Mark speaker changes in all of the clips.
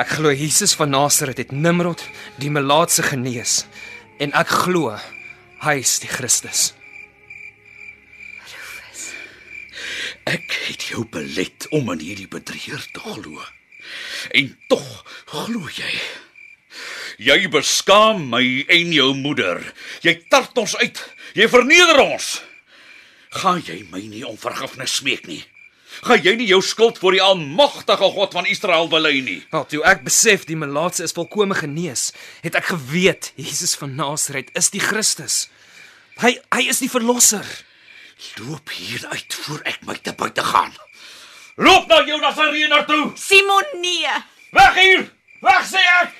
Speaker 1: ek glo Jesus van Nasaret het Nimrod die melaatse genees en ek glo hy is die Christus.
Speaker 2: Ek het jou belet om aan hierdie bedrieger te glo. En tog glo jy. Jy beskaam my en jou moeder. Jy tart ons uit. Jy verneder ons. Gaan jy my nie om vergifnis smeek nie? Gaan jy nie jou skuld voor die almagtige God van Israel bely nie?
Speaker 1: Wel, Nou, toe ek besef die melaatse is volkome genees, het ek geweet Jesus van Nasaret is die Christus. Hy hy is die verlosser.
Speaker 2: Loop hier uit voor ek my te buite gaan. Loop na jou na Sirene toe.
Speaker 3: Simon nee.
Speaker 2: Weg hier. Weg sê ek.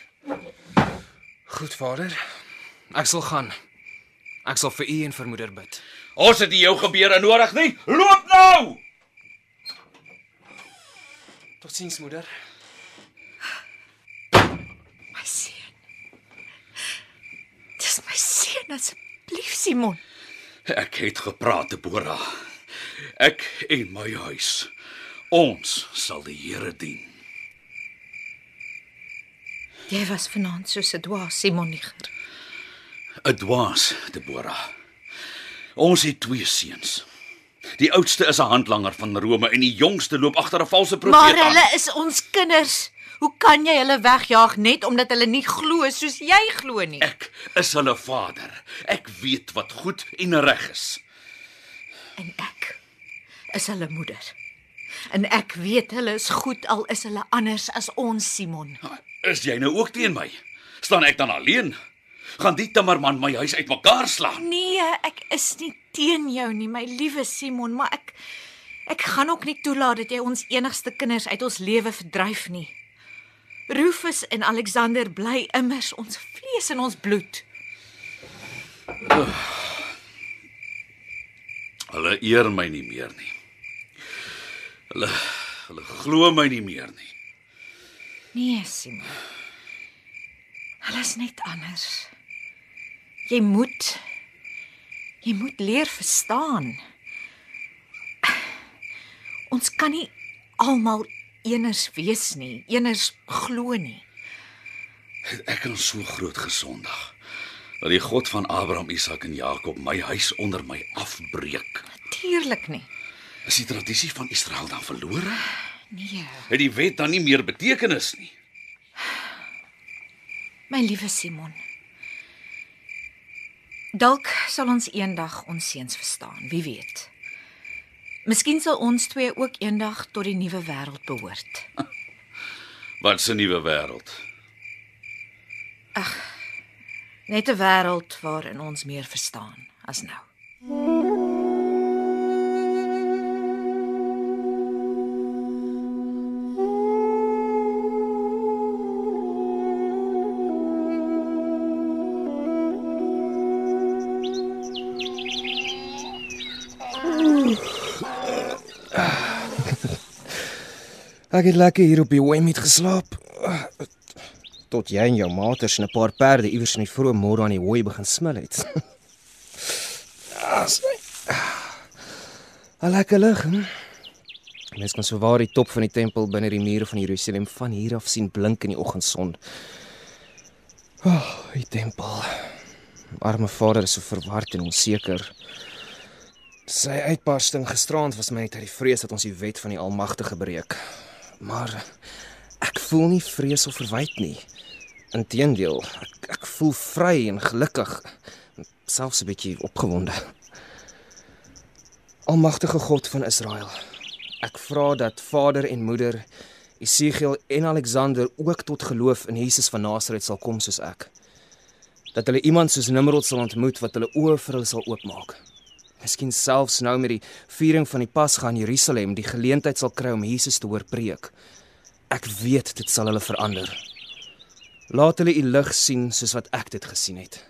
Speaker 1: Goed Vader, ek sal gaan. Ek sal vir u en vir moeder bid.
Speaker 2: Ons het nie jou gebeure nodig nie. Loop nou.
Speaker 1: Totsiens moeder.
Speaker 3: My seun. Dis my seun asseblief Simon.
Speaker 2: Ek het gepraat, Bora. Ek en my huis. Ons sal die Here dien.
Speaker 3: Jy was vanaand so se dwaas Simon Niger.
Speaker 2: 'n Dwaas, Bora. Ons het twee seuns. Die oudste is 'n handlanger van Rome en die jongste loop agter 'n valse profeet
Speaker 3: Maar
Speaker 2: aan.
Speaker 3: hulle is ons kinders. Hoe kan jy hulle wegjaag net omdat hulle nie glo soos jy glo nie?
Speaker 2: Ek is hulle vader. Ek weet wat goed en reg is.
Speaker 3: En ek is hulle moeder. En ek weet hulle is goed al is hulle anders as ons Simon.
Speaker 2: Is jy nou ook teen my? Staan ek dan alleen? Gaan die timmerman my huis uitmekaar slaan?
Speaker 3: Nee, ek is nie teen jou nie, my liewe Simon, maar ek ek gaan ook nie toelaat dat jy ons enigste kinders uit ons lewe verdryf nie. Rufus en Alexander bly immers ons vlees en ons bloed.
Speaker 2: Hulle eer my nie meer nie. Hulle hulle glo my nie meer nie.
Speaker 3: Nee, Simon. Hulle is net anders. Jy moet jy moet leer verstaan. Ons kan nie almal eners wees nie, eners glo nie.
Speaker 2: Het ek al so groot gesondig dat die God van Abraham, Isak en Jakob my huis onder my afbreek.
Speaker 3: Natuurlik nie.
Speaker 2: Is die tradisie van Israel dan verlore?
Speaker 3: Nee,
Speaker 2: Het die wet dan nie meer betekenis nie?
Speaker 3: my liewe Simon. Dalk sal ons eendag ons seuns verstaan, wie weet. Miskien sal ons twee ook eendag tot die nuwe wêreld behoort.
Speaker 2: Wat 'n nuwe wêreld.
Speaker 3: Net 'n wêreld waarin ons meer verstaan as nou.
Speaker 4: Ek het lekker hier op die Wemmet geslaap.
Speaker 1: Tot jy en jou maters en 'n paar perde iewers in die vroeë môre aan die hooi begin smil het.
Speaker 4: Al lekker lig. Hm? Mens kan sowaar die top van die tempel binne die mure van Jerusalem van hier af sien blink in die oggendson. Oh, die tempel. Arme vader is so verward en onseker. Sy uitbarsting gisteraand was my net uit die vrees dat ons die wet van die Almagtige breek. Maar ek voel nie vrees of verwyd nie. Inteendeel, ek, ek voel vry en gelukkig, selfs 'n bietjie opgewonde. Almagtige God van Israel, ek vra dat vader en moeder Isigiel en Alexander ook tot geloof in Jesus van Nasaret sal kom soos ek. Dat hulle iemand soos Nimrod sal ontmoet wat hulle oë vir hulle sal oopmaak. Miskien selfs nou met die viering van die Pasga in Jerusalem die geleentheid sal kry om Jesus te hoor preek. Ek weet dit sal hulle verander. Laat hulle u lig sien soos wat ek dit gesien het.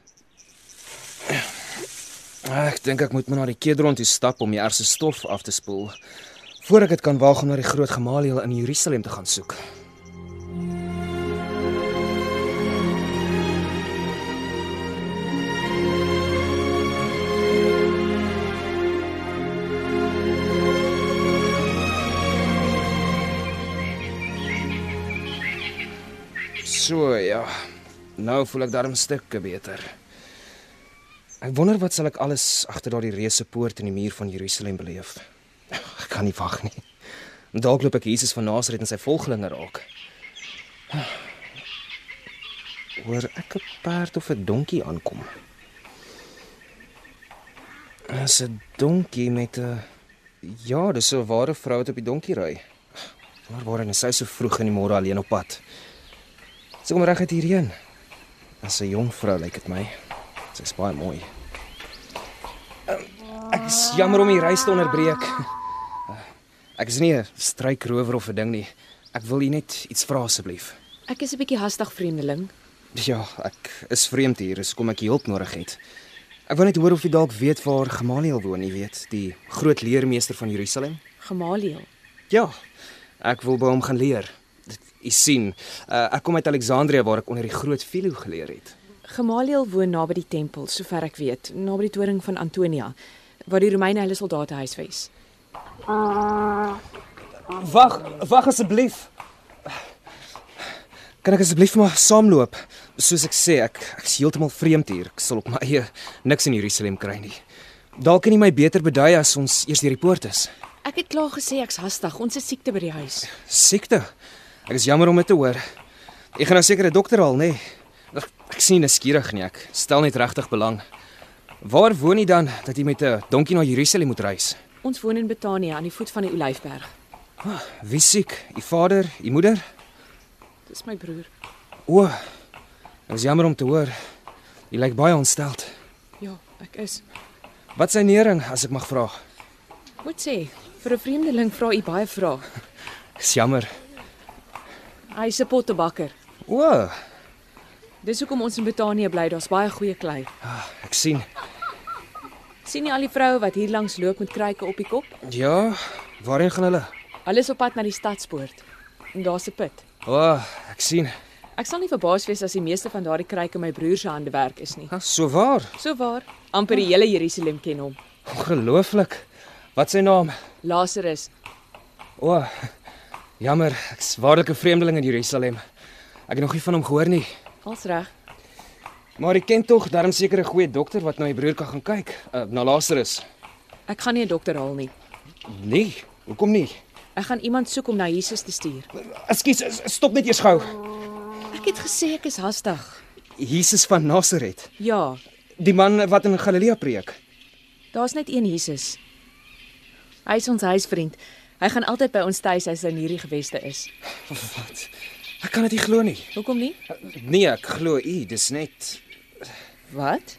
Speaker 4: Ek dink ek moet maar na die kedron toe stap om die ergste stof af te spoel voor ek dit kan waag om na die groot Gamaliel in Jerusalem te gaan soek. So ja. Nou voel ek darm stukke beter. Ek wonder wat sal ek alles agter daardie reuse poort in die muur van Jerusalem beleef. Ek kan nie wag nie. Dalk loop ek Jesus van Nasaret en sy volgelinge raak. Hoor ek 'n perd of 'n donkie aankom? Dis 'n donkie met 'n Ja, dis 'n ware vrou wat op die donkie ry. Maar waarheen is sy so vroeg in die môre alleen op pad? Sy kom reguit hierheen. As 'n jong vrou lyk dit my. Sy's baie mooi. Ehm, Ek is jammer om die reis te onderbreek. Ek is nie 'n struikrower of 'n ding nie. Ek wil u net iets vra asseblief.
Speaker 5: Ek is 'n bietjie hastig, vreemdeling.
Speaker 4: Ja, ek is vreemd hier, dus kom ek u hulp nodig het. Ek wil net hoor of u dalk weet waar Gamaliel woon, jy weet, die groot leermeester van Jerusalem.
Speaker 5: Gamaliel.
Speaker 4: Ja. Ek wil by hom gaan leer. Dit u sien, uh, ek kom uit Alexandrië waar ek onder die groot Philo geleer het.
Speaker 5: Gamaliel woon naby die tempel, sover ek weet, naby die toring van Antonia, waar die Romeine hulle soldate huisves.
Speaker 4: Wag, wag asseblief. Kan ek asseblief maar saamloop? Soos ek sê, ek ek's heeltemal vreemd hier. Ek sal op my eie niks in Jerusalem kry nie. Dalk kan jy my beter bedui as ons eers deur die poort is.
Speaker 5: Ek het klaar gesê ek's hastig. Ons is siekte by die huis.
Speaker 4: Siekte. Ek is jammer om dit te hoor. Ek gaan nou seker 'n dokter haal, nê? Nee. Ek, ek sien nie skieurig nie. nee. Ek stel net regtig belang. Waar woon jy dan dat jy met 'n donkie na Jerusalem moet reis?
Speaker 5: Ons woon in Betanië aan die voet van die Olyfberg.
Speaker 4: Wie siek? U vader, u moeder?
Speaker 5: Dis my broer.
Speaker 4: O. Ek is jammer om te hoor. Jy lyk baie ontsteld.
Speaker 5: Ja, ek is.
Speaker 4: Wat is sy nering as ek mag vra?
Speaker 5: Moet sê, vir 'n vreemdeling vra u baie vrae.
Speaker 4: Dis jammer.
Speaker 5: Hy's 'n pottebakker.
Speaker 4: O,
Speaker 5: Dis hoekom ons in Betanië bly. Daar's baie goeie klei.
Speaker 4: ek sien.
Speaker 5: sien jy al die vroue wat hier langs loop met kruike op die kop?
Speaker 4: Ja, waarheen gaan hulle?
Speaker 5: Hulle is op pad na die stadspoort. En daar's 'n put.
Speaker 4: O, ek sien.
Speaker 5: Ek sal nie verbaas wees as die meeste van daardie kruike my broer se handewerk is nie.
Speaker 4: Ah, So waar.
Speaker 5: So waar, amper die hele Jerusalem ken hom.
Speaker 4: Ongelooflik. Wat is sy naam?
Speaker 5: Lazarus,
Speaker 4: O. Jammer, ek's waarlik 'n vreemdeling in Jerusalem. Ek het nog nie van hom gehoor nie.
Speaker 5: al's reg.
Speaker 4: Maar ek ken tog darm seker 'n goeie dokter wat na my broer kan gaan kyk, uh, na Lazarus.
Speaker 5: Ek gaan nie 'n dokter haal nie.
Speaker 4: Nee, hoekom nie?
Speaker 5: Ek gaan iemand soek om na Jesus te stuur.
Speaker 4: Ekskuus, stop net eers gou.
Speaker 5: Ek het gesê ek is hastig.
Speaker 4: Jesus van Nasaret,
Speaker 5: Ja,
Speaker 4: die man wat in Galilea preek.
Speaker 5: daar's net een Jesus. Hy is ons huisvriend. Hy gaan altyd by ons tuis as hy in hierdie geweste is.
Speaker 4: Wat? Ek kan dit nie glo nie.
Speaker 5: Hoekom nie?
Speaker 4: Nee, ek glo u, dis net
Speaker 5: Wat?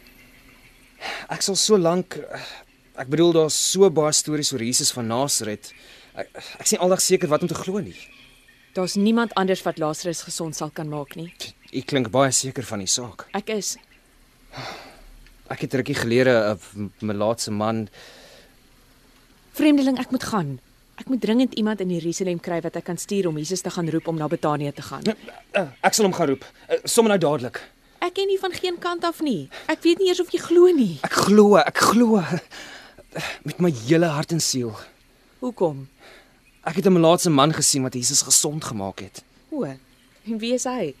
Speaker 4: Ek sal so lank eh, ek bedoel daar's so baie stories oor Jesus van Nasaret. Ek ek sien aldag seker wat om te glo nie.
Speaker 5: Daar's niemand anders wat Lazarus gesond sal kan maak nie.
Speaker 4: U klink baie seker van die saak.
Speaker 5: Ek is
Speaker 4: Ek het rukkie eh, gelede 'n melaatse man.
Speaker 5: vreemdeling, ek moet gaan. Ek moet dringend iemand in Jerusalem kry wat ek kan stuur om Jesus te gaan roep om na Betanië te gaan.
Speaker 4: Eh, Ek sal hom gaan roep, eh, sommer nou dadelik.
Speaker 5: Ek ken nie van geen kant af nie. Ek weet nie eers of jy glo nie.
Speaker 4: Ek glo, ek glo met my hele hart en siel.
Speaker 5: Hoekom?
Speaker 4: Ek het 'n melaatse man gesien wat Jesus gesond gemaak het.
Speaker 5: O, en wie is hy?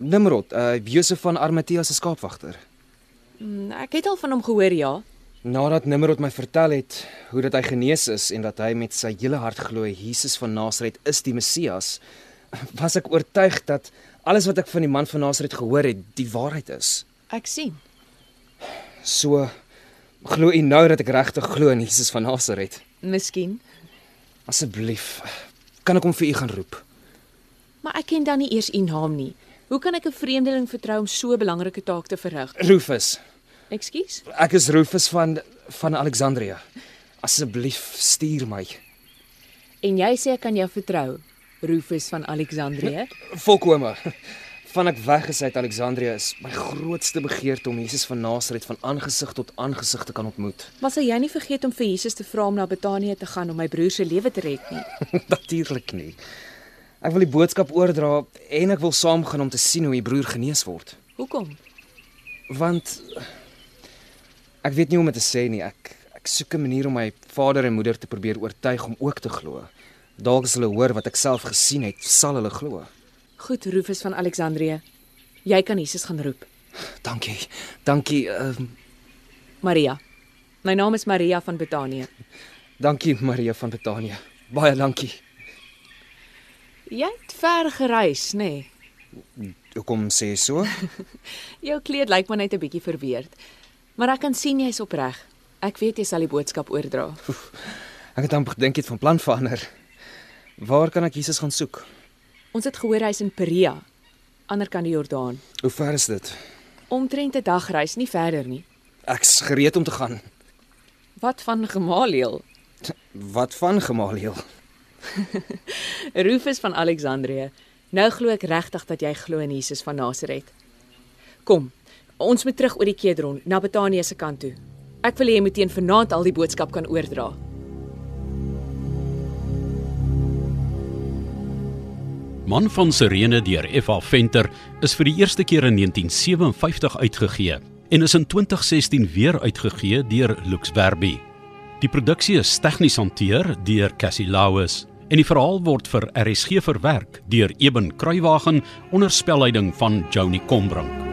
Speaker 4: Nimrod, uh Josef van Arimatea se skaapwagter.
Speaker 5: Mm, Ek het al van hom gehoor, ja.
Speaker 4: Nadat Nimrod my vertel het hoe dat hy genees is en dat hy met sy hele hart glo Jesus van Nasaret is die Messias, was ek oortuig dat alles wat ek van die man van Nasaret gehoor het, die waarheid is.
Speaker 5: Ek sien.
Speaker 4: So glo u nou dat ek regtig glo in Jesus van Nasaret.
Speaker 5: Miskien,
Speaker 4: Asseblief, kan ek hom vir u gaan roep?
Speaker 5: maar ek ken dan nie eers u naam nie. Hoe kan ek 'n vreemdeling vertrou om so 'n belangrike taak te verrig?
Speaker 4: Rufus.
Speaker 5: Ekskuus?
Speaker 4: Ek is Rufus van van Alexandrië. Asseblief, stuur my.
Speaker 5: En jy sê ek kan jou vertrou, Rufus van Alexandrië?
Speaker 4: Volkome. Van ek weg is uit Alexandrië is my grootste begeerte om Jesus van Nasaret van aangesig tot aangesig te kan ontmoet.
Speaker 5: Maar sal jy nie vergeet om vir Jesus te vra om na Betanië te gaan om my broer se lewe te red nie?
Speaker 4: Natuurlik nie. Ek wil die boodskap oordra en ek wil saamgaan om te sien hoe u broer genees word.
Speaker 5: Hoekom?
Speaker 4: Want eh, ek weet nie hoe om dit te sê nie. Ek ek soek 'n manier om my vader en moeder te probeer oortuig om ook te glo. Dalk as hulle hoor wat ek self gesien het, sal hulle glo.
Speaker 5: Goed, Rufus van Alexandrië. Jy kan Jesus gaan roep.
Speaker 4: Dankie. Dankie. ehm
Speaker 5: Maria. My naam is Maria van Betanië.
Speaker 4: dankie Maria van Betanië. Baie dankie.
Speaker 5: Jy het ver gereis, nê? Nee.
Speaker 4: Hoekom sê jy so?
Speaker 5: Jou kleed lyk maar net 'n bietjie verweerd. Maar ek kan sien jy's opreg. Ek weet jy sal die boodskap oordra.
Speaker 4: Ek het amper gedink jy het van plan verander. Waar kan ek Jesus gaan soek?
Speaker 5: Ons het gehoor hy's in Perea, ander kant die Jordaan.
Speaker 4: Hoe ver is dit?
Speaker 5: Omtrent 'n dagreis, nie verder nie.
Speaker 4: Ek's gereed om te gaan.
Speaker 5: Wat van Gamaliel?
Speaker 4: Wat van Gamaliel?
Speaker 5: Rufus van Alexandrië. Nou glo ek regtig dat jy glo in Jesus van Nasaret. Kom, ons moet terug oor die Kedron na Betanië se kant toe. Ek wil hê jy moet teen vanaand al die boodskap kan oordra.
Speaker 6: Man van Sirene deur F.A. Venter is vir die eerste keer in 1957 uitgegee en is in 2016 weer uitgegee deur Lux Werby. Die produksie is tegnies hanteer deur Cassie Lauis en die verhaal word vir RSG verwerk deur Eben Kruiwagen onder spelleiding van Johnny Combrink.